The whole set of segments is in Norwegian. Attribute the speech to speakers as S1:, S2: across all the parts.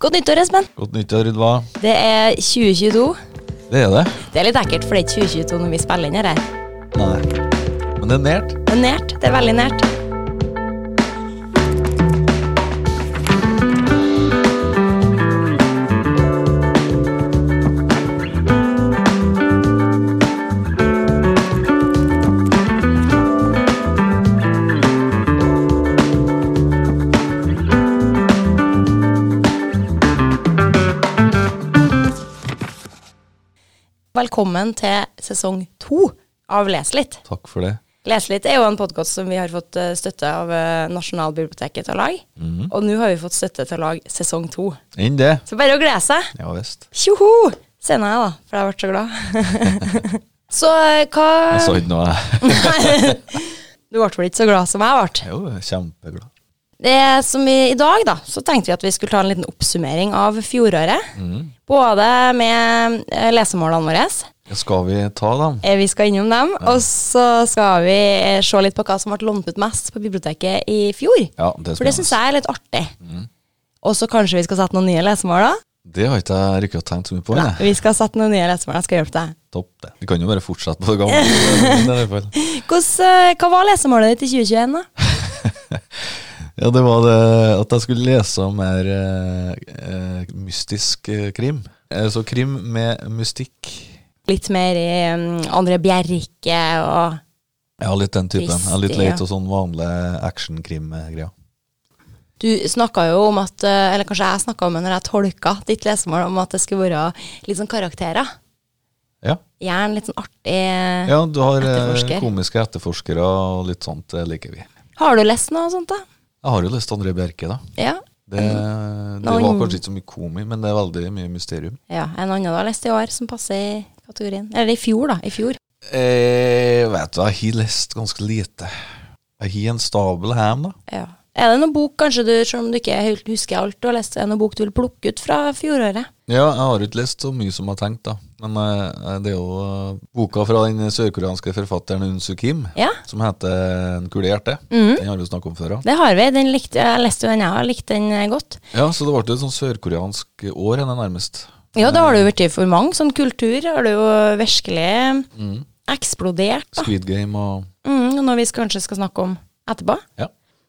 S1: Godt nyttår, Espen.
S2: Godt nyttår, Rydva.
S1: Det er 2022.
S2: Det er det.
S1: Det er litt ekkelt, for det er ikke 2022 når vi spiller inn dette.
S2: Nei. Men det er nært.
S1: Det er nært. Det er veldig nært. Velkommen til sesong to av Les litt.
S2: Takk for det.
S1: Les litt er jo en podkast som vi har fått eh, støtte av eh, Nasjonalbiblioteket til å lage.
S2: Mhm.
S1: Og nå har vi fått støtte til å lage sesong to.
S2: Enn det.
S1: Så bare å glede seg.
S2: Ja visst.
S1: Tjoho! Sender jeg, da, for jeg har vært så glad. så eh, hva
S2: Jeg så ikke noe, jeg.
S1: Du ble vel ikke så glad som jeg ble?
S2: Jeg er jo kjempeglad.
S1: Det som i, I dag da, så tenkte vi at vi skulle ta en liten oppsummering av fjoråret.
S2: Mhm.
S1: Både med eh, lesemålene våre.
S2: Ja, Skal vi ta dem?
S1: Eh, Vi skal innom dem. Og så skal vi eh, se litt på hva som ble lånt ut mest på biblioteket i fjor.
S2: Ja, det er
S1: For det syns jeg er
S2: spennende.
S1: litt artig.
S2: Mm.
S1: Og så kanskje vi skal sette noen nye lesemål, da.
S2: Det har ikke jeg rykket og tenkt så mye på. Nei.
S1: Vi skal sette noen nye lesemål. Jeg skal hjelpe deg.
S2: Topp, det. Vi kan jo bare fortsette på det gamle. Men i hvert fall.
S1: Hvordan, eh, hva var lesemålet ditt i 2021, da?
S2: Ja, det var det at jeg skulle lese om mer eh, eh, mystisk eh, krim. Eh, Så krim med mystikk.
S1: Litt mer i mm, André Bjerke og
S2: Ja, litt den typen. Jeg er litt
S1: Mystig, ja.
S2: leit og sånn vanlig action-krim-greier.
S1: Du snakka jo om at eh, Eller kanskje jeg snakka om det når jeg tolka ditt lesemål, om at det skulle være litt sånn karakterer.
S2: Ja.
S1: Gjerne litt sånn artig.
S2: ja, du har eh,
S1: Etterforsker.
S2: komiske etterforskere og litt sånt. Det liker vi.
S1: Har du lest noe sånt, da?
S2: Jeg har jo lest André Bjerke, da.
S1: Ja.
S2: Det, det
S1: Nei.
S2: var kanskje ikke så mye komi, men det er veldig mye mysterium.
S1: ja. En annen du har lest i år, som passer i kategorien. Eller i fjor, da. I fjor.
S2: Eh, vet du, jeg har lest ganske lite. Jeg har en stabel hjem, da.
S1: Ja. Er det noen bok, kanskje du, selv om du ikke helt husker alt du har lest, er det noen bok du vil plukke ut fra fjoråret?
S2: Ja, jeg har ikke lest så mye som jeg har tenkt, da. Men eh, det er jo eh, boka fra den sørkoreanske forfatteren Unsu Kim,
S1: Ja,
S2: som heter En kule i hjertet. Den har vi jo snakket om før, da.
S1: det har vi. Den likte, jeg leste jo den jeg har, likte den eh, godt.
S2: Ja, så det ble jo et sånn sørkoreansk år, henne nærmest.
S1: Ja, da har det jo vært i for mange. Sånn kultur har det jo virkelig
S2: Mm.
S1: mm, eksplodert. da.
S2: Squid Game og
S1: Mm, noe vi skal- kanskje skal snakke om etterpå.
S2: Ja.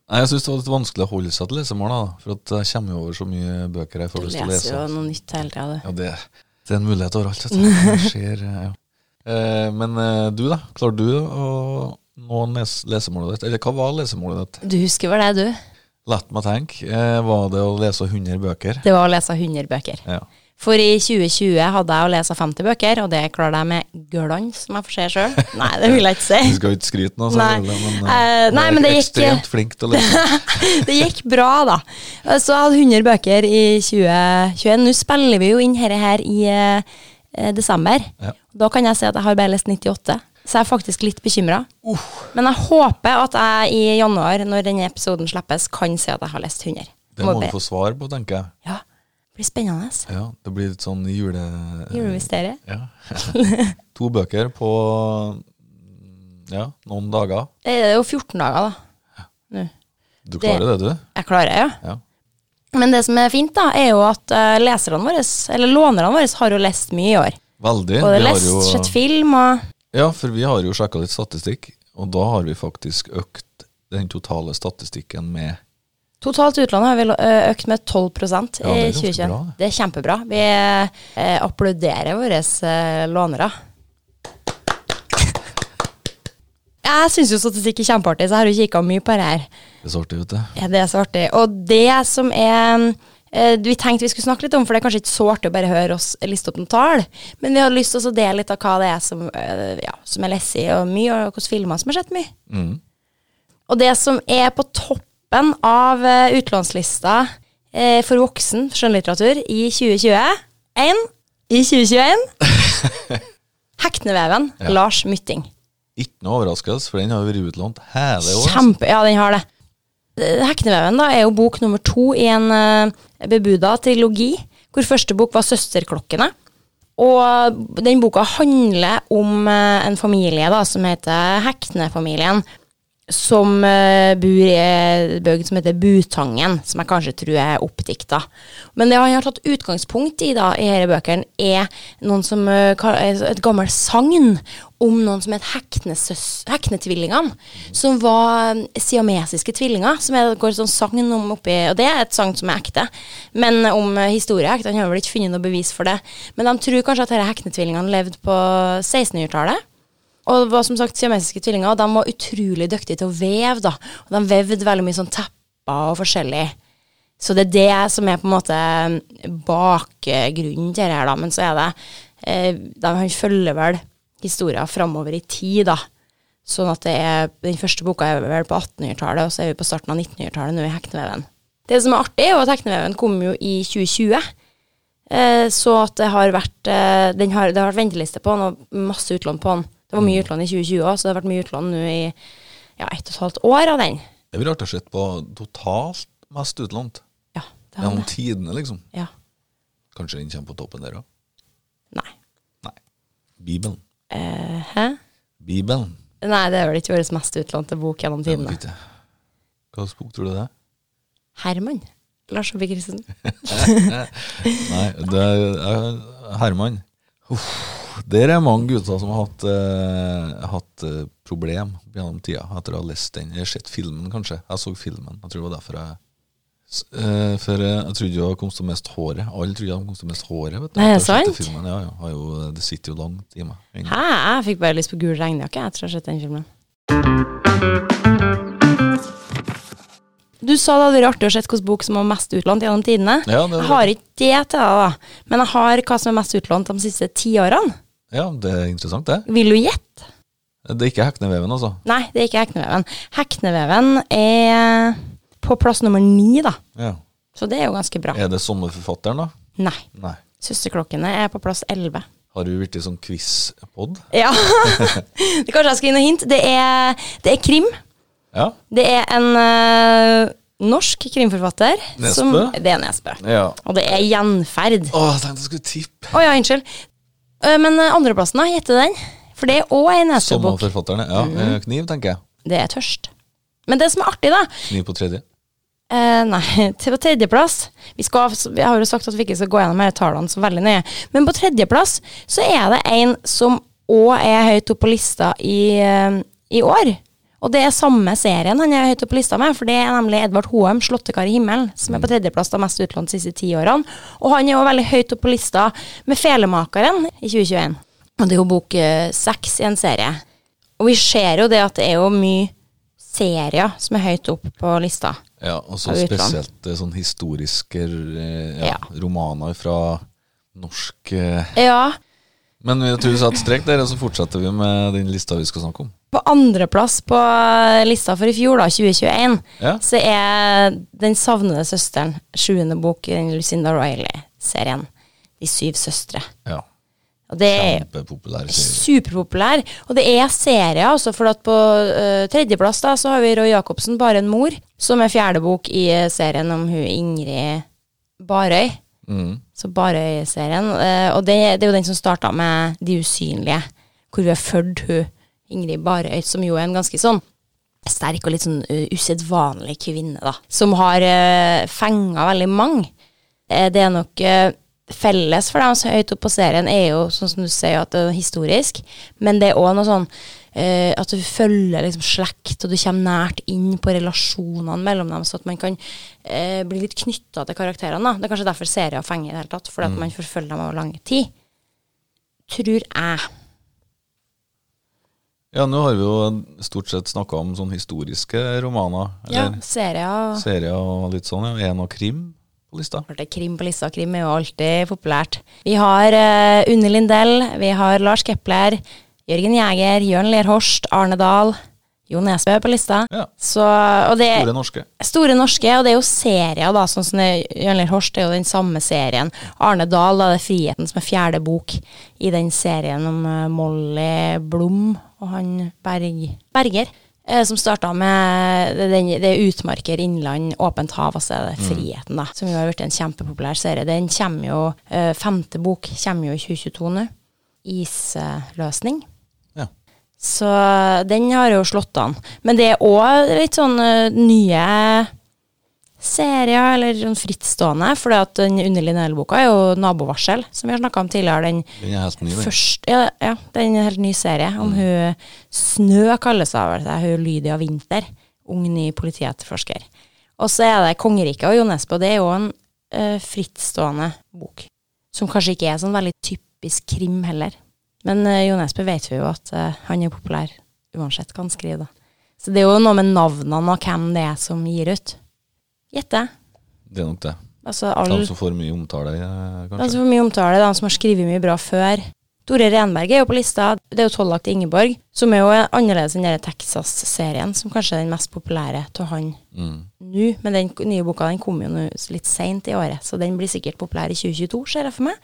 S2: Nei, Jeg syns det var litt vanskelig å holde seg til lesemåla, da, for at jeg kommer jo over så mye bøker jeg får lyst til å lese.
S1: jo noe nytt hele tida, du.
S2: Ja, det, det er en mulighet overalt. vet du. Det skjer, eh, ja. Eh, men eh, du, da? Klarer du å nå les lesemålet ditt? Eller hva var lesemålet ditt?
S1: Du husker vel det, du?
S2: La meg tenke. Eh, var det å lese 100 bøker?
S1: Det var å lese 100 bøker.
S2: Ja.
S1: For i 2020 hadde jeg å lese 50 bøker, og det klarer jeg med glans, som jeg får se sjøl. Nei, det vil jeg ikke si.
S2: Vi skal jo ikke skryte noe,
S1: Nei.
S2: selvfølgelig, men,
S1: Eh, nei,
S2: jeg er
S1: men det gikk-
S2: ekstremt flink til å lese.
S1: det gikk bra, da. Så jeg hadde 100 bøker i 2021. Nå spiller vi jo inn dette her i eh, desember.
S2: Ja.
S1: Da kan jeg si at jeg har bare lest 98, så jeg er faktisk litt bekymra.
S2: Uh.
S1: Men jeg håper at jeg i januar, når denne episoden slippes, kan si at jeg har lest 100.
S2: Det må
S1: be-
S2: du få svar på, tenker jeg.
S1: Ja, Det blir spennende.
S2: Ja, det blir litt sånn jule...
S1: Julemysteriet.
S2: Ja. to bøker på ja, noen dager.
S1: Det er jo 14 dager, da. Nå.
S2: Du klarer det, du?
S1: Jeg klarer det, ja.
S2: Ja.
S1: Men det som er fint, da, er jo at eh, leserne våre, eller lånerne våre, har jo lest mye i år.
S2: Veldig.
S1: Både
S2: Vi har
S1: lest,
S2: jo-
S1: sett film og
S2: Ja, for vi har jo sjekka litt statistikk, og da har vi faktisk økt den totale statistikken med
S1: Totalt i utlandet har vi lo- ø, økt med 12
S2: Ja, det er
S1: i
S2: ganske
S1: 2021.
S2: bra, det.
S1: Det er kjempebra. Vi eh, applauderer våre eh, lånere. Jeg syns jo statistikk er kjempeartig, så jeg har jo kikka mye på det her.
S2: Det så artig ut, det.
S1: Ja, det er så artig. Og det som er eh, vi tenkte vi skulle snakke litt om, for det er kanskje ikke så artig å bare høre oss liste opp noen tall, men vi har lyst til å dele litt av hva det er som, eh, ja, som er lest i og mye, og hvilke filmer som har sett mye. Og det som er på toppen av eh, utlånslista eh, for voksen skjønnlitteratur i 2020 En, i 2021 Hekneveven, Lars Mytting.
S2: Ikke noe overraskelse, for den har jo vært utlånt hele året.
S1: Kjempe, ja, den har det. Eh, Hekneveven da, er jo bok nummer to i en uh, bebuda trilogi, hvor første bok var Søsterklokkene. Og den boka handler om eh, en familie da, som heter Heknefamilien. som eh, bor i ei bygd som heter Butangen, som jeg kanskje tror er oppdikta. Men det han har tatt utgangspunkt i da, i disse bøkene, er noen som, eh, kal- eh, et gammelt sagn om noen som het Heknesøs- Heknetvillingene, som var eh, siamesiske tvillinger. som er, det går et sånt sagn om oppi, Og det er et sagn som er ekte, men om eh, historie er ekte. Han har vel ikke funnet noe bevis for det. Men de tror kanskje at disse heknetvillingene levde på 1600-tallet. Og det var som sagt siamesiske tvillinger, og de var utrolig dyktige til å veve. da. Og de vevde veldig mye sånn tepper og forskjellig. Så det er det som er på en måte mm, bakgrunnen til det her, da. Men så er det eh, de, Han følger vel historier framover i tid, da. Sånn at det er, den første boka er vel på 1800-tallet, og så er vi på starten av 1900-tallet nå i Hekneveven. Det som er artig, er jo at Hekneveven kom jo i 2020. Eh, Så at det har vært eh, den har, Det har vært venteliste på den, og masse utlån på den. Det var mye utlån i 2020 òg, så det har vært mye utlån nå i ja, ett og et halvt år av den.
S2: Det ville vært å se på totalt mest utlånt.
S1: Ja, det har
S2: Gjennom
S1: det.
S2: tidene, liksom.
S1: Ja.
S2: Kanskje den kommer på toppen der òg.
S1: Nei.
S2: Nei. Bibelen.
S1: Eh, hæ?
S2: Bibelen.
S1: Nei, det er vel ikke vår mest utlånte bok gjennom
S2: Det er nok
S1: tidene.
S2: ikke. Hva slags bok tror du det er?
S1: Herman. Lars Saabye Christensen.
S2: Nei, det er eh, Herman. Uff, der er mange gutter som har hatt, eh, hatt eh, problem gjennom tida etter å ha lest den. Jeg har sett filmen, kanskje. Jeg så filmen. Jeg tror det var derfor jeg S- eh, For eh, jeg trodde jo jeg kom til mest håret. Alle trodde jeg kom til mest håret. Vet du.
S1: Nei, er det
S2: Etter å ha sett
S1: sant?
S2: Filmen, ja, ja. Har jo, eh, det sitter jo langt i meg.
S1: Hæ? Jeg fikk bare lyst på gul regnjakke etter å ha sett den filmen. Du sa det hadde vært artig å se hvilken bok som var mest utlånt gjennom tidene.
S2: Ja, det,
S1: Jeg har ikke det til deg, da. Men jeg har hva som er mest utlånt de siste ti årene.
S2: ja, det er interessant, det.
S1: Vil du gjette?
S2: Det er ikke Hekneveven, altså.
S1: Nei, det er ikke Hekneveven. Hekneveven er på plass nummer ni, da.
S2: Ja.
S1: Så det er jo ganske bra.
S2: Er det samme forfatteren, da?
S1: Nei.
S2: Nei.
S1: Søsterklokkene er på plass elleve.
S2: Har du blitt sånn quiz-pod?
S1: Ja. det kanskje jeg skal gi noe hint. Det er, det er krim.
S2: Ja.
S1: Det er en øh, norsk krimforfatter.
S2: Nesbø?
S1: Som, det er Nesbø.
S2: ja.
S1: Og det er gjenferd.
S2: Å, jeg tenkte jeg skulle tippe.
S1: Å ja, unnskyld. Øh, Men øh, andreplassen, da? Gjette den. For det er òg ei
S2: Samme
S1: Nesbø-bok.
S2: forfatterne. Ja, eh, Kniv, tenker jeg.
S1: Det er tørst. Men det som er artig, da
S2: Kniv på tredje.
S1: eh, Nei, til på tredjeplass vi skal, Jeg har jo sagt at vi ikke skal gå gjennom her tallene så veldig nøye. Men på tredjeplass så er det en som òg er høyt oppe på lista i, eh, i år. Og det er samme serien han er høyt oppe på lista med, for det er nemlig Edvard Hoem, 'Slåttekar i himmelen', som er på tredjeplass av mest utlånt de siste ti årene. Og han er òg veldig høyt oppe på lista med 'Felemakeren' i 2021. Og det er jo bok eh, seks i en serie. Og vi ser jo det at det er jo mye serier som er høyt opp på lista.
S2: Ja, og så
S1: Har vi
S2: spesielt eh, sånn historiske eh, ja,
S1: Ja.
S2: romaner fra norsk eh.
S1: Ja.
S2: Men jeg tror vi satte strek der, og så fortsetter vi med den lista vi skal snakke om.
S1: På andreplass på eh, lista for i fjor, da, 2021,
S2: Ja.
S1: så er Den savnede søsteren sjuende bok i den Lucinda Riley-serien. De syv søstre.
S2: Ja.
S1: Og det
S2: Eh.
S1: er
S2: Kjempepopulær serie.
S1: superpopulær. Og det er serier, altså. For at på eh, tredjeplass da, så har vi Roy Jacobsen, 'Bare en mor', som er fjerde bok i eh, serien om hun Ingrid Barøy.
S2: Mm.
S1: Så Barøy-serien. eh, Og det, det er jo den som starta med De usynlige, hvor vi har fulgt hun Ingrid Barøy, som jo er en ganske sånn sterk og litt sånn eh, usedvanlig kvinne, da. Som har uh, fenga veldig mange. Eh, det er nok eh, felles for dem som er høyt oppe på serien, er jo sånn som du sier, at det er historisk. Men det er òg noe sånn eh, at du følger liksom slekt, og du kommer nært inn på relasjonene mellom dem, så at man kan eh, bli litt knytta til karakterene. da. Det er kanskje derfor serier fenger i det hele tatt, fordi at man forfølger dem over lang tid. Tror jeg.
S2: Ja, nå har vi jo stort sett snakka om sånn historiske romaner.
S1: Ja,
S2: Eller
S1: serier
S2: serier og litt sånn, ja. En og krim på lista.
S1: Klart det er Krim på lista, krim er jo alltid populært. Vi har eh, Unni Lindell, vi har Lars Kepler, Jørgen Jæger, Jørn Lerhorst, Arne Dahl, Jo Nesbø på lista.
S2: Ja.
S1: Så, og det er
S2: Store norske.
S1: Store norske, og det er jo serier, da. Sånn som det- Jørn Lerhorst er jo den samme serien. Arne Dahl, da, det er Friheten som er fjerde bok i den serien om eh, Molly Blom og han Berg, Berger. eh, Som starta med det- den, det er utmarker, innland, åpent hav, og så er det Friheten, da. Som jo har blitt en kjempepopulær serie. Den kommer jo, eh, femte bok kommer jo i 2022 nå. Isløsning.
S2: Ja.
S1: Så den har jo slått an. Men det er òg litt sånn eh, nye serier, eller sånn frittstående. For den underlige Nell-boka er jo 'Nabovarsel', som vi har snakka om tidligere. Den
S2: Den er helt ny, den.
S1: Først, ja, ja, det er en helt ny serie om hun Snø kalles hun vel seg, hun Lydia Winther. Ung, ny politietterforsker. Og så er det Kongeriket og Jo Nesbø. Det er jo en eh, frittstående bok. Som kanskje ikke er sånn veldig typisk krim heller. Men uh, Jo Nesbø vet vi jo at eh, han er populær uansett hva han skriver. da. Så det er jo noe med navnene og hvem det er som gir ut. Gjette.
S2: Det er nok det.
S1: Altså
S2: De
S1: alle
S2: som får mye omtale, eh,
S1: de
S2: kanskje.
S1: som får mye omtale, de som har skrevet mye bra før. Tore Renberg er jo på lista. Det er jo 'Tollak til Ingeborg', som er jo annerledes enn den Texas-serien, som kanskje er den mest populære av han
S2: Mm.
S1: nå. Men den k- nye boka den kom jo nå s- litt seint i året, så den blir sikkert populær i 2022, ser jeg for meg.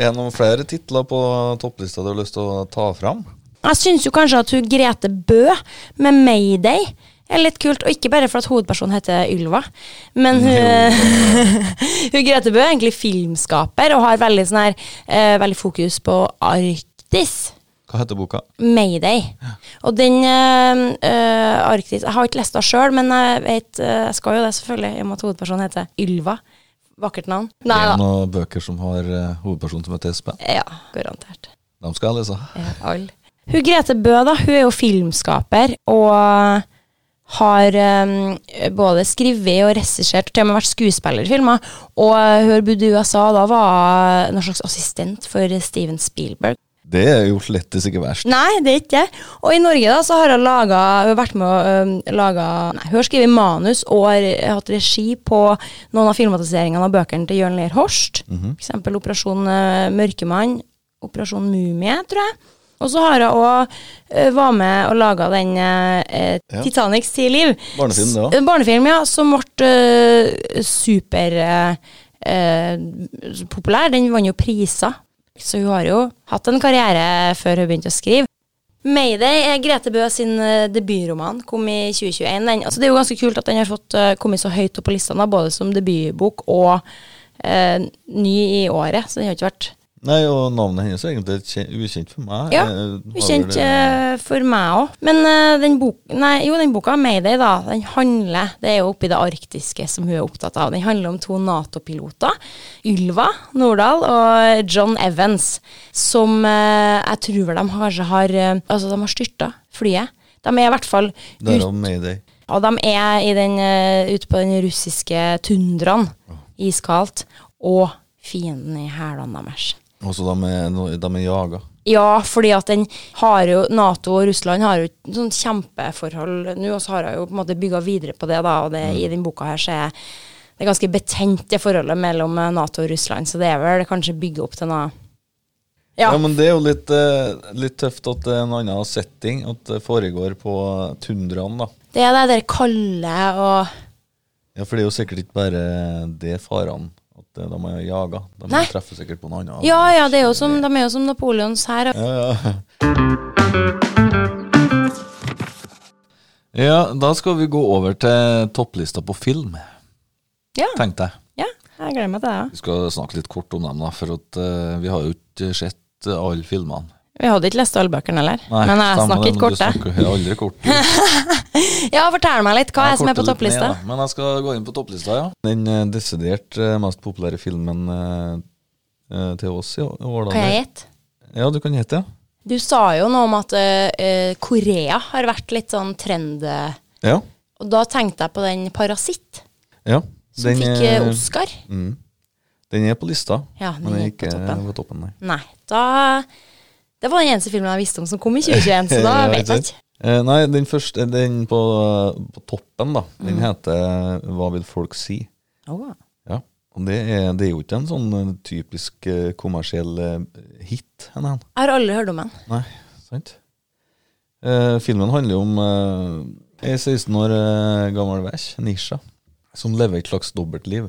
S2: Er det noen flere titler på topplista du har lyst til å ta fram?
S1: Jeg syns jo kanskje at hun Grete Bø med 'Mayday' er litt kult. Og ikke bare for at hovedpersonen heter Ylva, men hun Hun Grete Bø er egentlig filmskaper og har veldig, sånn her, eh, veldig fokus på Arktis.
S2: Hva heter boka?
S1: Mayday. Og den eh, eh, Arktis Jeg har ikke lest den sjøl, men jeg vet eh, Jeg skal jo det, selvfølgelig, i og med at hovedpersonen heter Ylva. Vakkert navn. Nei
S2: Er det
S1: da.
S2: noen bøker som har eh, hovedperson som heter Espen?
S1: Ja, garantert.
S2: De skal jeg lese.
S1: Ja, all. Hun Grete Bø, da, hun er jo filmskaper og eh, har eh, både skrevet og regissert, og til og med vært skuespiller i filmer. Og eh, hun har bodd i USA, og da var hun en slags assistent for Steven Spielberg.
S2: Det er jo slettes ikke verst.
S1: Nei, det er ikke det. Og i Norge da, så har hun laga Hun har vært med og øhm, laga Nei, hun har skrevet manus og har øh, hatt regi på noen av filmatiseringene av bøkene til Jørn Lier Horst. For eksempel Operasjon øh, Mørkemann, Operasjon Mumie, tror jeg. Og så har hun òg øh, var med og laga den øh,
S2: Ja.
S1: Titanics ti liv.
S2: Barnefilm, det
S1: S-
S2: også.
S1: eh, Barnefilm, ja. Som ble eh, super eh, eh, populær. Den vant jo priser. Så hun har jo hatt en karriere før hun begynte å skrive. 'Mayday' er Grete Bø sin eh, debutroman. Kom i 2021. Den, altså det er jo ganske kult at den har fått eh, kommet så høyt opp på listene, både som debutbok og eh, ny i året. Så den har ikke vært
S2: Nei, og navnet hennes er egentlig kjen- ukjent for meg.
S1: Ja,
S2: Eh, har
S1: Ukjent
S2: vel, eh,
S1: eh, for meg òg. Men eh, den, bok, nei, jo, den boka, 'Mayday', da, den handler Det er jo oppi det arktiske som hun er opptatt av. Den handler om to Nato-piloter. Ylva Nordahl og John Evans. Som eh, jeg tror vel de kanskje har eh, Altså, de har styrta flyet. De er i hvert fall
S2: Det er om Mayday.
S1: og de er i den, eh, ute på den russiske tundraen. Iskaldt. Og fienden i hælene deres.
S2: Og så de er, no- de er jaga.
S1: Ja, fordi at den har jo Nato og Russland har jo et sånn kjempeforhold nå, og så har jeg jo på en måte bygga videre på det, da, og det, i den boka her så er det ganske betent, det forholdet mellom eh, Nato og Russland, så det er vel kanskje bygge opp til noe
S2: Ja.
S1: Ja.
S2: men det er jo litt, eh, litt tøft at det er en annen setting, at det foregår på tundraen, da.
S1: Det er det der kalde og
S2: Ja, for det er jo sikkert ikke bare det farene, at eh, de er jaga. De
S1: Nei.
S2: treffer sikkert på noen annen.
S1: Ja ja, det er jo som, de er jo som Napoleons hær. og-
S2: Ja, ja. ja, da skal vi gå over til topplista på film,
S1: Ja,
S2: tenkte jeg.
S1: ja, jeg gleder meg til det. ja.
S2: Vi skal snakke litt kort om dem, da, for at, eh, vi har jo ikke sett eh, alle filmene.
S1: Vi hadde ikke lest alle bøkene heller, men jeg
S2: stemmer det,
S1: snakket
S2: men
S1: kort, jeg.
S2: Du snakker aldri kort. Du
S1: Ja, fortell meg litt, hva er
S2: Jeg
S1: det som er på
S2: korter litt ned,
S1: topplista?
S2: da. Men jeg skal gå inn på topplista, ja. Den eh, desidert eh, mest populære filmen eh, eh, til oss i år. da.
S1: Kan jeg gjette?
S2: Ja, du kan gjette,
S1: Du sa jo noe om at eh, eh, Korea har vært litt sånn trend eh,
S2: ja.
S1: Og da tenkte jeg på den Parasitt,
S2: Ja. ja.
S1: som fikk eh,
S2: er-
S1: Oscar.
S2: mm. Den er på lista,
S1: Ja, den
S2: men den
S1: er
S2: er ikke
S1: på toppen.
S2: på toppen, nei.
S1: Nei, da Det var den eneste filmen jeg visste om som kom i 2021, så da
S2: Ja,
S1: vet
S2: ikke
S1: jeg
S2: sant?
S1: ikke.
S2: Eh, nei, den første, den på, på toppen, da,
S1: Mm.
S2: den heter eh, 'Hva vil folk si'?
S1: Åh.
S2: Ja. Og det er, det er jo ikke en sånn eh, typisk eh, kommersiell eh, hit. Hen, hen.
S1: Jeg har aldri hørt om den.
S2: Nei, sant. Eh, filmen handler om eh, ei 16 år eh, gammel væsj, Nisha, som lever et slags dobbeltliv.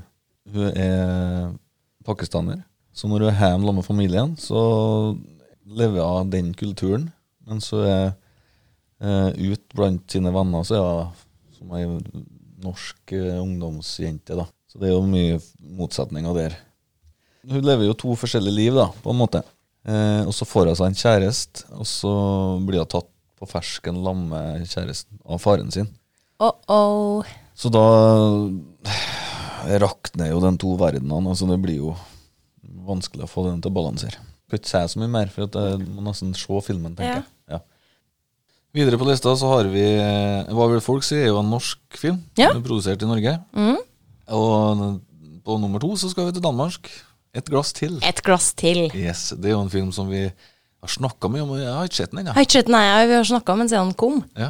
S2: Hun er pakistaner, så når hun er hjemme sammen med familien, så lever hun av den kulturen. Mens hun er eh, ute blant sine venner, så er hun som ei norsk eh, ungdomsjente, da. Så det er jo mye motsetninger der. Hun lever jo to forskjellige liv, da, på en måte. Eh, og så får hun seg en kjæreste, og så blir hun tatt på fersken sammen med kjæresten av faren sin.
S1: Oh, Oh-oh.
S2: Så da eh, rakner jo den to verdenene. Altså det blir jo vanskelig å få den til å balansere. Kan ikke si så mye mer, for at jeg må nesten se filmen, tenker jeg. Ja. Videre på lista så har vi eh, Hva vil folk si? er jo en norsk film.
S1: Ja.
S2: Den er Produsert i Norge.
S1: Mm.
S2: Og på nummer to så skal vi til Danmark. Et glass til.
S1: Et glass til.
S2: Yes, Det er jo en film som vi har snakka mye om. og Jeg har ikke sett den ennå.
S1: Har ikke sett den, nei, vi har snakka mens han kom.
S2: Ja.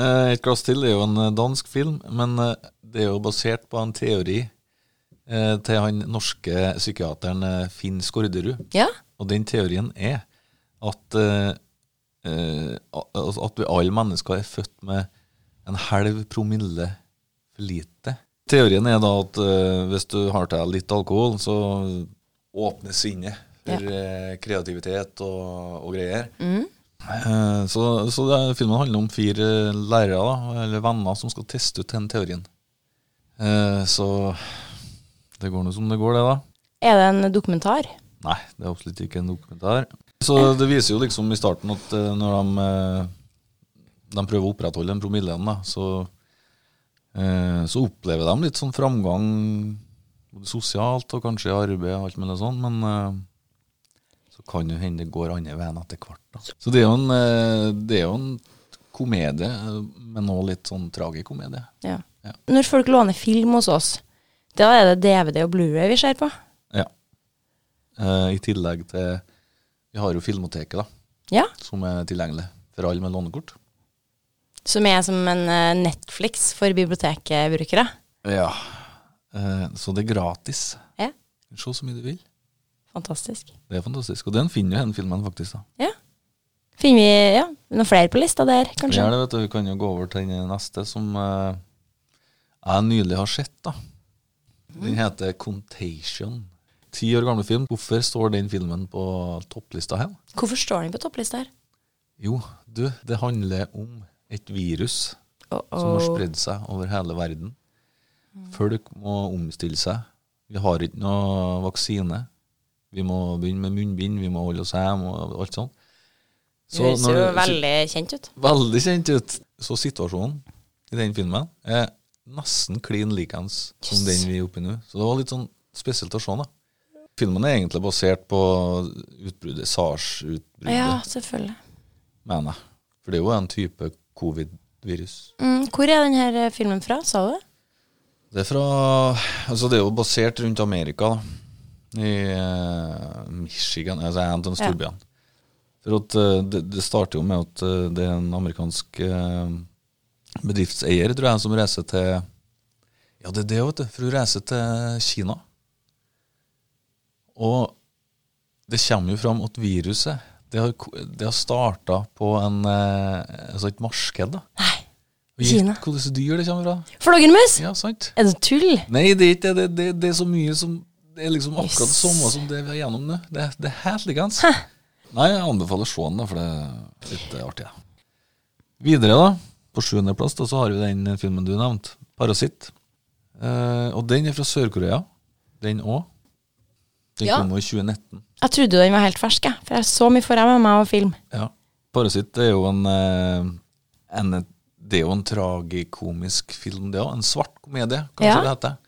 S2: Eh, Et glass til er jo en eh, dansk film, men eh, det er jo basert på en teori eh, til han norske psykiateren eh, Finn Skårderud.
S1: Ja.
S2: Og den teorien er at, eh, eh, al- altså at vi alle mennesker er født med en halv promille for lite. Teorien er da at eh, hvis du har til deg litt alkohol, så åpner sinnet for eh, kreativitet og, og greier. Eh, Så, så det, er- filmen handler om fire eh, lærere, da, eller venner, som skal teste ut den teorien. Eh, Så det går nå som det går, det, da.
S1: Er det en dokumentar?
S2: Nei, det er absolutt ikke en dokumentar. Så det viser jo liksom i starten at eh, når de, eh, de prøver å opprettholde den promillen, da, så, eh, så opplever de litt sånn framgang både sosialt og kanskje i arbeid og alt mulig sånn, men eh, så kan jo hende det går andre veien etter hvert. Da. Så det er jo en, eh, det er jo en komedie, eh, men òg litt sånn tragikomedie.
S1: Ja.
S2: Ja.
S1: Når folk låner film hos oss, da er det DVD og Blu-ray vi ser på.
S2: Ja. Eh, I tillegg til Vi har jo Filmoteket, da.
S1: Ja.
S2: som er tilgjengelig for alle med lånekort.
S1: Som er som en eh, Netflix for bibliotekbrukere.
S2: Ja. Eh, så det er gratis.
S1: Ja.
S2: Se så mye du vil.
S1: Fantastisk.
S2: Det er fantastisk. Og den finner jo den filmen, faktisk. da.
S1: Ja. Finner vi ja, noen flere på lista der,
S2: Vi,
S1: kanskje?
S2: er det, vet du. vi kan jo gå over til den neste, som eh, jeg nylig har sett. da. Den heter Contation. Ti år gamle film. Hvorfor står den filmen på topplista her?
S1: Hvorfor står den på topplista her?
S2: Jo, du, det handler om et virus som har
S1: Uh-oh.
S2: spredd seg over hele verden. Folk må omstille seg. Vi har ikke noe vaksine. Vi må begynne med munnbind, vi må holde oss hjemme og alt sånt.
S1: Det høres jo
S2: når-
S1: veldig kjent ut.
S2: veldig kjent ut. Så situasjonen i den filmen er nesten klin likens som den vi er oppe i nå. Så det var litt sånn spesielt å se, da. Filmen er egentlig basert på utbruddet, SARS-utbruddet,
S1: Ja, selvfølgelig.
S2: mener jeg. For det er jo en type covid-virus.
S1: Mm, hvor er den her eh, filmen fra, sa du? det?
S2: Det er fra Altså, det er jo basert rundt Amerika, da. I eh, Michigan, altså en av de storbyene. For at eh, det, det starter jo med at eh, det er en amerikansk eh, bedriftseier, tror jeg, som reiser til Ja, det er det, vet du. For hun reiser til Kina. Og det kommer jo fram at viruset det har, ko- det har starta på en, eh, altså et marked. da.
S1: Nei,
S2: Og gjett
S1: Kina.
S2: Hvilke dyr det kommer fra?
S1: flaggermus!
S2: Ja, sant?
S1: Er det tull?
S2: Nei, det er ikke det. Det, det, det er så mye som Det er liksom akkurat det
S1: Yes.
S2: samme som det vi er gjennom nå. Det, det er helt likens. Nei, jeg anbefaler å se den, da, for det er litt eh, artig. Ja. Videre, da. På sjuendeplass da, så har vi den filmen du nevnte, 'Parasitt'. Eh, og den er fra Sør-Korea, den òg. Den
S1: Ja.
S2: kom jo i 2019.
S1: Jeg trodde jo den var helt fersk, jeg. For jeg så mye for meg med meg og film.
S2: Ja. 'Parasitt' er jo en, eh, en Det er jo en tragikomisk film, det òg. En svart komedie, kanskje
S1: Ja.
S2: det heter.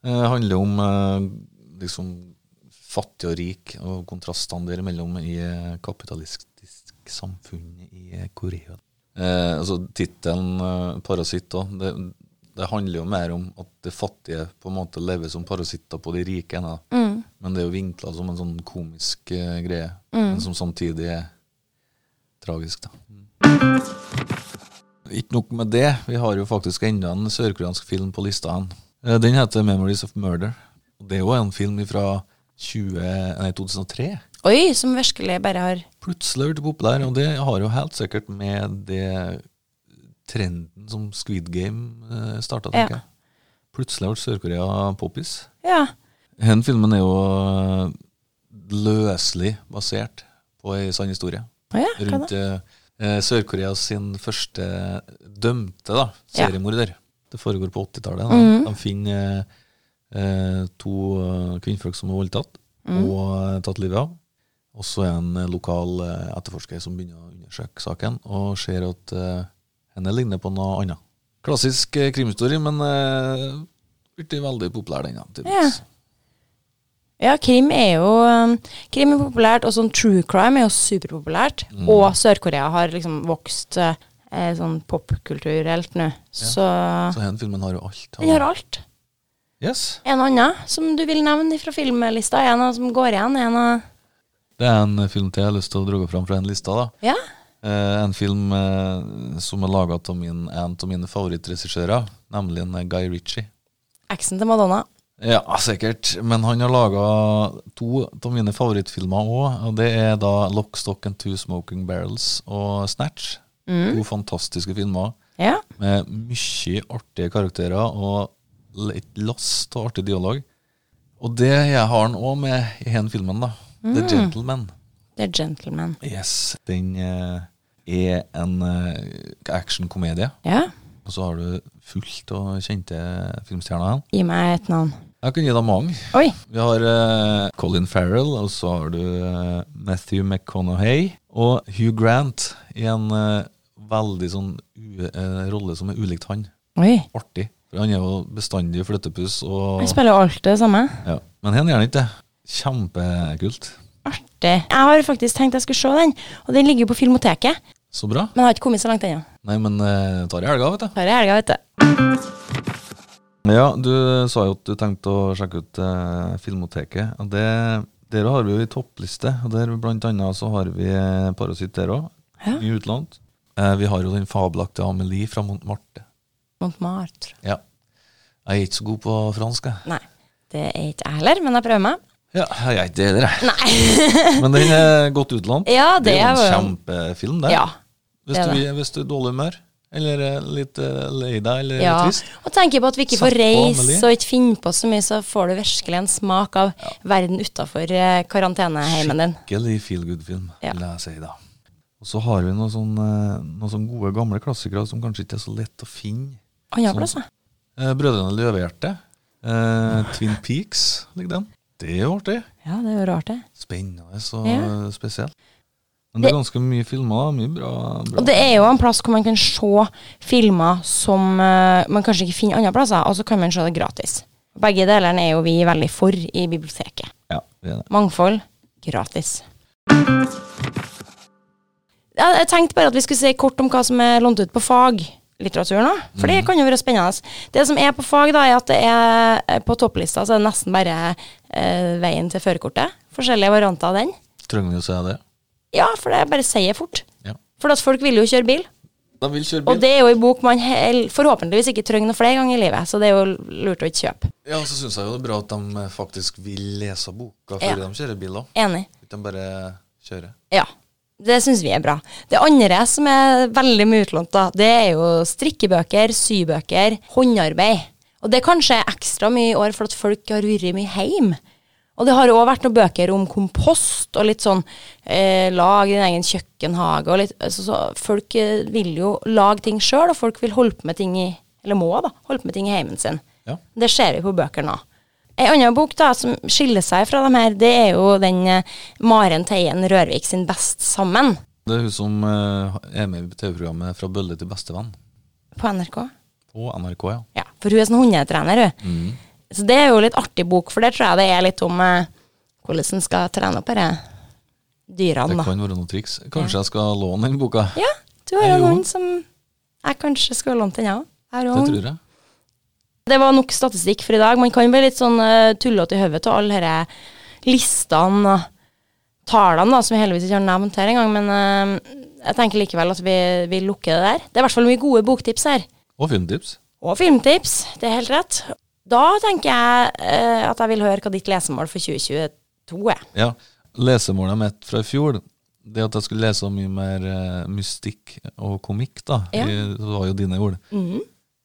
S2: Det handler om eh, liksom fattig og rik, og kontrastene der imellom i eh, kapitalistisk samfunn i eh, Korea. Eh, altså Tittelen eh, 'Parasitt' òg. Det, det handler jo mer om at det fattige på en måte lever som parasitter på de rike. Da.
S1: Mm,
S2: Men det er jo vinkla som en sånn komisk eh, greie,
S1: Mm.
S2: men som samtidig er tragisk. da. Mm. Ikke nok med det, vi har jo faktisk enda en sørkoreansk film på lista. her. Eh, Den heter 'Memories of Murder'. Og Det er jo en film fra 20, nei, 2003.
S1: Oi, som virkelig bare har
S2: Plutselig har blitt populær, og det har jo helt sikkert med det trenden som Squid Game starta,
S1: Ja.
S2: tenker jeg. Plutselig ble Sør-Korea poppis.
S1: Ja.
S2: Den filmen er jo eh, løselig basert på ei sann historie
S1: Å ja, hva da?
S2: rundt eh, Sør-Korea sin første dømte da,
S1: Ja. Mhm.
S2: seriemorder. Det foregår på 80-tallet. da. De finner
S1: Mhm.
S2: eh, to eh, kvinnfolk som er voldtatt og eh, tatt livet av. Og så er en eh, lokal eh, etterforsker som begynner å undersøke saken, og ser at eh, henne ligner på noe annet. Klassisk eh, krimhistorie, men eh, blitt veldig populær den. da, tydeligvis.
S1: Ja, krim er jo um, Krim er populært, og sånn true crime er jo superpopulært. Og Sør-Korea har liksom vokst eh, eh, sånn popkulturelt nå. Så
S2: Så denne filmen har jo alt.
S1: den har alt.
S2: Yes.
S1: En annen som du vil nevne fra filmlista? En av som går igjen? En av
S2: Det er en film til jeg har lyst til å dra fram fra den lista. da.
S1: Ja?
S2: Eh, en film eh, som er laga av min, en av mine favorittregissører, nemlig en eh, Guy Ritchie.
S1: Eksen
S2: Eksen
S1: til Madonna.
S2: Ja, sikkert. Men han har laga to av mine favorittfilmer òg. Og det er da 'Lockstock and Two Smoking Barrels' og 'Snatch'. To fantastiske filmer
S1: Ja.
S2: med mye artige karakterer og l- et lass av artig dialog. Og det jeg har han òg med i den filmen, da. 'The Gentleman'.
S1: The Gentleman.
S2: Yes. Den eh, er en eh, actionkomedie.
S1: Ja.
S2: Og så har du fullt av kjente filmstjerner.
S1: Gi meg et navn.
S2: Jeg kan gi deg mange.
S1: Oi.
S2: Vi har eh, Colin Farrell, og så har du eh, Matthew McConaughey og Hugh Grant i en eh, veldig sånn u eh, rolle som er ulikt han.
S1: Oi.
S2: Artig. For han er jo bestandig flyttepuss og
S1: Jeg spiller jo alt det samme.
S2: ja. Men han gjør han ikke det. Kjempekult.
S1: Artig. Jeg har faktisk tenkt jeg skulle se den, og den ligger jo på Filmoteket.
S2: Så bra.
S1: Men jeg har ikke kommet så langt ennå.
S2: Nei, men eh, tar i helga, vet du.
S1: Tar det i helga, vet du.
S2: Ja, du sa jo at du tenkte å sjekke ut eh, Filmoteket. og det, Der har vi jo ei toppliste. og der Blant annet så har vi eh, Parasitt der òg,
S1: Ja.
S2: i utlandet. Eh, vi har jo den fabelaktige Amelie fra Montmartre.
S1: Montmartre.
S2: Ja. Jeg er ikke så god på fransk, jeg.
S1: Nei, det er ikke jeg heller, men jeg prøver meg.
S2: Ja, jeg er ikke det heller, jeg. Men den er godt utlånt.
S1: Ja, det
S2: er
S1: er
S2: jo en
S1: jo-
S2: kjempefilm, det.
S1: Ja.
S2: hvis,
S1: det er
S2: du, er- hvis du er i dårlig humør, eller er litt eh, lei deg, eller
S1: ja.
S2: trist.
S1: Og tenker på at vi ikke får
S2: Sett på, Amelie.
S1: reise og ikke finne på så mye, så får du virkelig en smak av verden utafor karanteneheimen din.
S2: Skikkelig feel good-film,
S1: Ja.
S2: vil jeg si da. Og så har vi noen sånne, noen sånne gode, gamle klassikere som kanskje ikke er så lett å finne.
S1: Andre
S2: Sånn.
S1: plass, da.
S2: Eh, Brødrene Løvehjerte. Eh, Twin Peaks ligger den. Det er jo artig.
S1: Ja, det er jo rart, det.
S2: Spennende og
S1: Ja.
S2: spesielt. Men det er
S1: Det-
S2: ganske mye filmer. da, Mye bra. bra.
S1: Og det er jo en plass hvor man kan se filmer som eh, man kanskje ikke finner andre plasser, og så kan man se det gratis. Begge delene er jo vi veldig for i biblioteket.
S2: Ja, det er det.
S1: Mangfold gratis. Ja, Jeg tenkte bare at vi skulle si kort om hva som er lånt ut på faglitteratur nå. For det kan jo være spennende. Det som er på fag, da, er at det er eh, på topplista så er det nesten bare eh, veien til førerkortet. Forskjellige varianter av den.
S2: Trenger vi å si det?
S1: Ja, for det bare sier jeg fort.
S2: Ja.
S1: For at folk vil jo kjøre bil.
S2: De vil kjøre
S1: Og
S2: bil.
S1: det er jo en bok man hel- forhåpentligvis ikke trenger noe flere ganger i livet, så det er jo lurt å ikke kjøpe.
S2: Ja, så syns jeg jo det er bra at de eh, faktisk vil lese boka
S1: Ja.
S2: før de kjører bil òg.
S1: Enig.
S2: Ikke de bare kjører.
S1: Ja. Det syns vi er bra. Det andre som er veldig mye utlånt, da, det er jo strikkebøker, sybøker, håndarbeid. Og det er kanskje ekstra mye i år for at folk har vært mye hjemme. Og det har òg vært noen bøker om kompost og litt sånn eh, lag din egen kjøkkenhage og litt altså, så Folk eh, vil jo lage ting sjøl, og folk vil holde på med ting i Eller må, da. Holde på med ting i heimen sin.
S2: Ja.
S1: Det ser vi på bøkene òg. Ei annen bok da, som skiller seg fra de her, det er jo den eh, Maren Teien Rørvik sin Best sammen
S2: Det er hun som eh, er med i TV-programmet Fra bølle til bestevenn.
S1: på NRK.
S2: På NRK, ja.
S1: Ja, For hun er sånn hundetrener, hun.
S2: Mm.
S1: Så det er jo litt artig bok, for det tror jeg det er litt om eh, hvordan en skal trene opp disse
S2: Det
S1: dyrene, da.
S2: kan være noen triks. Kanskje jeg skal låne den boka?
S1: Ja, du har jo
S2: Jeg
S1: en
S2: gjorde.
S1: hund som jeg kanskje skulle lånt den, jeg òg. Jeg har jo
S2: Det
S1: hund.
S2: tror jeg.
S1: Det var nok statistikk for i dag. Man kan bli litt sånn uh, tullete i hodet av alle disse listene og tallene, da, som vi heldigvis ikke har nevnt her engang. Men eh, jeg tenker likevel at vi, vi lukker det der. Det er i hvert fall mye gode boktips her.
S2: Og filmtips.
S1: Og filmtips. Det er helt rett. Da tenker jeg eh, at jeg vil høre hva ditt lesemål for 2022 er.
S2: Ja. Lesemålet mitt fra i fjor, det at jeg skulle lese om mye mer eh, mystikk og komikk, da,
S1: Ja. Mhm.
S2: i- det var jo dine ord.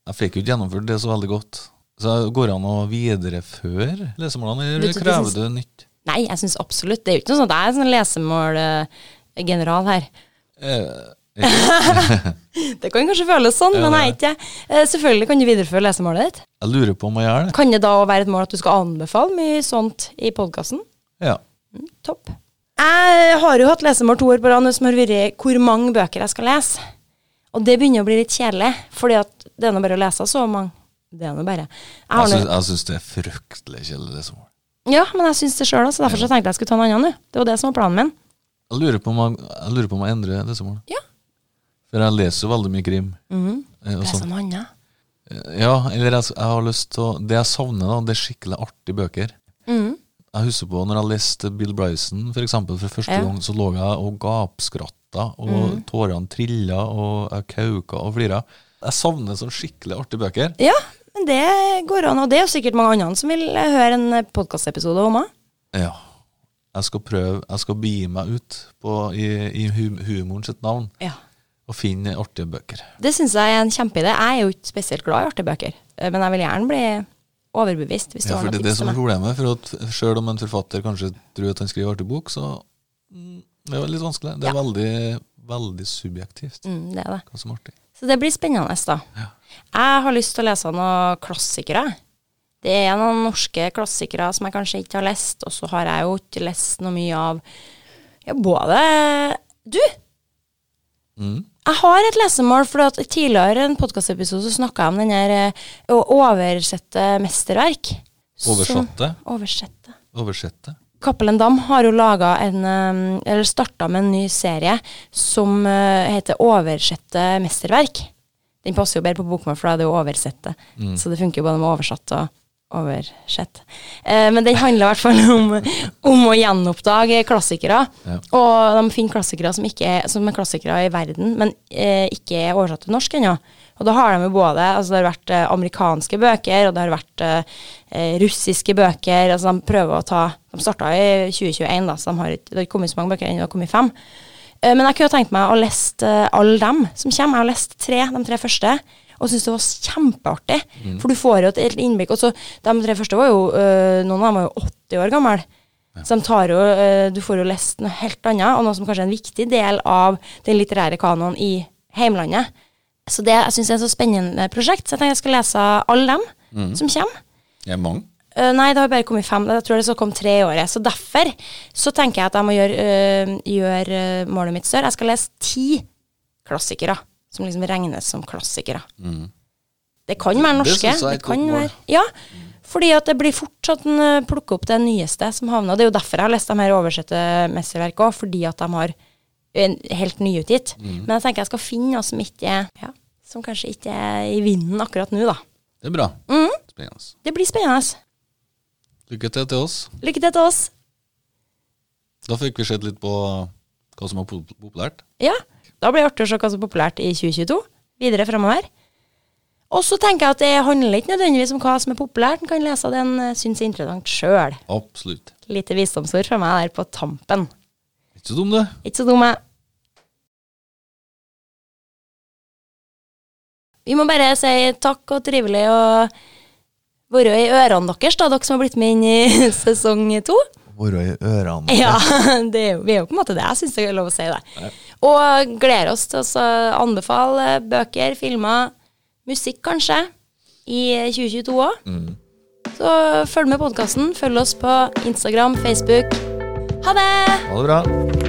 S2: Jeg fikk jo ikke gjennomført det så veldig godt. Så går det an å videreføre lesemålene,
S1: Vet
S2: eller
S1: du, det
S2: krever
S1: syns-
S2: det nytt?
S1: Nei, jeg syns absolutt. Det er jo ikke noe sånn at jeg er en sånn lesemålgeneral her.
S2: Eh,
S1: Det kan kanskje føles sånn, men jeg er ikke det. Eh, Selvfølgelig kan du videreføre lesemålet ditt.
S2: jeg lurer på om jeg gjør det.
S1: Kan det da også være et mål at du skal anbefale mye sånt i podkasten?
S2: Ja.
S1: Topp. Jeg har jo hatt lesemål to år på rad nå som har vært hvor mange bøker jeg skal lese. Og det begynner å bli litt kjedelig, fordi at det er nå bare å lese så mange. Det er nå bare. Jeg har
S2: Jeg
S1: nå-
S2: syns, jeg syns det er fryktelig kjedelig. det som-
S1: ja, men jeg syns det sjøl, så derfor så tenkte jeg jeg skulle ta en annen nå. Det var det som var planen min.
S2: Jeg lurer på om jeg, jeg, lurer på om jeg endrer det som mål.
S1: Ja.
S2: For jeg leser jo veldig mye krim. eh, og
S1: Mhm. Det er
S2: sånn.
S1: som annet.
S2: Ja, eller jeg, jeg har lyst til å Det jeg savner, da, det er skikkelig artige bøker.
S1: Mhm.
S2: Jeg husker på når jeg leste Bill Bryson for, eksempel, for første
S1: Ja. Mhm.
S2: gang, så lå jeg og gapskratta, og tårene trilla, og jeg kauka og flira. Jeg savner sånn skikkelig artige bøker.
S1: Ja, men det går an. Og det er jo sikkert mange andre som vil eh, høre en podkastepisode om òg.
S2: Ja. Jeg skal prøve, jeg skal begi meg ut på, i, i hum, humoren sitt navn
S1: Ja.
S2: og finne artige bøker.
S1: Det syns jeg er en kjempeidé. Jeg er jo ikke spesielt glad i artebøker, eh, men jeg vil gjerne bli overbevist hvis du
S2: Ja,
S1: har noen
S2: for det er det
S1: tips
S2: som
S1: til
S2: er
S1: meg.
S2: problemet. For at Selv om en forfatter kanskje tror at han skriver artig bok, så mm, det er det litt vanskelig. Det er veldig, veldig subjektivt
S1: Mm, det er det.
S2: hva som er artig.
S1: Så det blir spennende, da. Jeg har lyst til å lese noen klassikere. Det er noen norske klassikere som jeg kanskje ikke har lest, og så har jeg jo ikke lest noe mye av ja, både Du!
S2: Mm.
S1: Jeg har et lesemål, for at tidligere i en podkastepisode snakka jeg om den her eh, å oversette mesterverk. Som-
S2: Oversatte.
S1: Oversette.
S2: Oversette.
S1: Cappelen Dam har jo laget en eh, Eller starta med en ny serie som eh, heter Oversette mesterverk. Den passer jo bedre på bokmål, for da er det jo oversette. Så det funker jo både med oversatt og oversett. Eh, men den handler i hvert fall om, om å gjenoppdage klassikere.
S2: Ja.
S1: Og de finner klassikere som, ikke er, som er klassikere i verden, men eh, ikke er oversatt til norsk ennå. Og da har de jo både altså Det har vært eh, amerikanske bøker, og det har vært eh, eh, russiske bøker. Altså de prøver å ta De starta i 2021, da, så de har ikke, det har ikke kommet så mange bøker ennå. Det har kommet fem. Eh, Men jeg kunne tenkt meg å lest eh, alle dem som kommer. Jeg har lest tre, de tre første, og syns det var kjempeartig. For du får jo et helt innblikk. Og så, de tre første var jo eh, Noen av dem var jo 80 år gamle. Så de tar jo, eh, du får jo lest noe helt annet, og noe som kanskje er en viktig del av den litterære kanoen i heimlandet. Så det jeg syns er et så spennende prosjekt, så jeg tenkte jeg skulle lese alle dem som kommer.
S2: Det er mange.
S1: Eh, nei, det har bare kommet fem. Jeg tror det skal komme tre i året. Så derfor så tenker jeg at jeg må gjøre, eh, gjøre eh, målet mitt større. Jeg skal lese ti klassikere som liksom regnes som klassikere. Det kan være
S2: Mm. Det
S1: norske.
S2: synes jeg er
S1: Det,
S2: et godt
S1: kan
S2: mål.
S1: være Ja, fordi at det blir fort sånn eh, plukke opp det nyeste som havner. Det er jo derfor jeg har lest de her oversette mesterverkene òg, fordi at de har en helt nyutgitt.
S2: Mm.
S1: Men jeg tenker jeg skal finne noe som ikke er ja, Som kanskje ikke er i vinden akkurat nå, da. Mm,
S2: Det er bra. Spennende.
S1: Det blir spennende.
S2: Lykke til til oss.
S1: Lykke til til oss.
S2: Da fikk vi sett litt på hva som er pop- populært.
S1: Ja, da blir det artig å se hva som er populært i 2022. Videre fremover. Og så tenker jeg at det handler ikke nødvendigvis om hva som er populært. En kan lese det en eh, syns er interessant sjøl.
S2: Absolutt.
S1: Lite visdomsord fra meg der på tampen.
S2: Ikke så dum, det.
S1: Ikke så dumme. Vi må bare si takk og trivelig og være i ørene deres, da, dere som har blitt med inn i sesong to.
S2: Være i ørene.
S1: Ja, det er, jo- vi er jo på en måte det. Jeg syns det er lov å si det. Og gleder oss til å så anbefale bøker, filmer, musikk kanskje, i 2022 òg.
S2: Mm.
S1: Så følg med podkasten. Følg oss på Instagram, Facebook. Ha det!
S2: Ha det bra.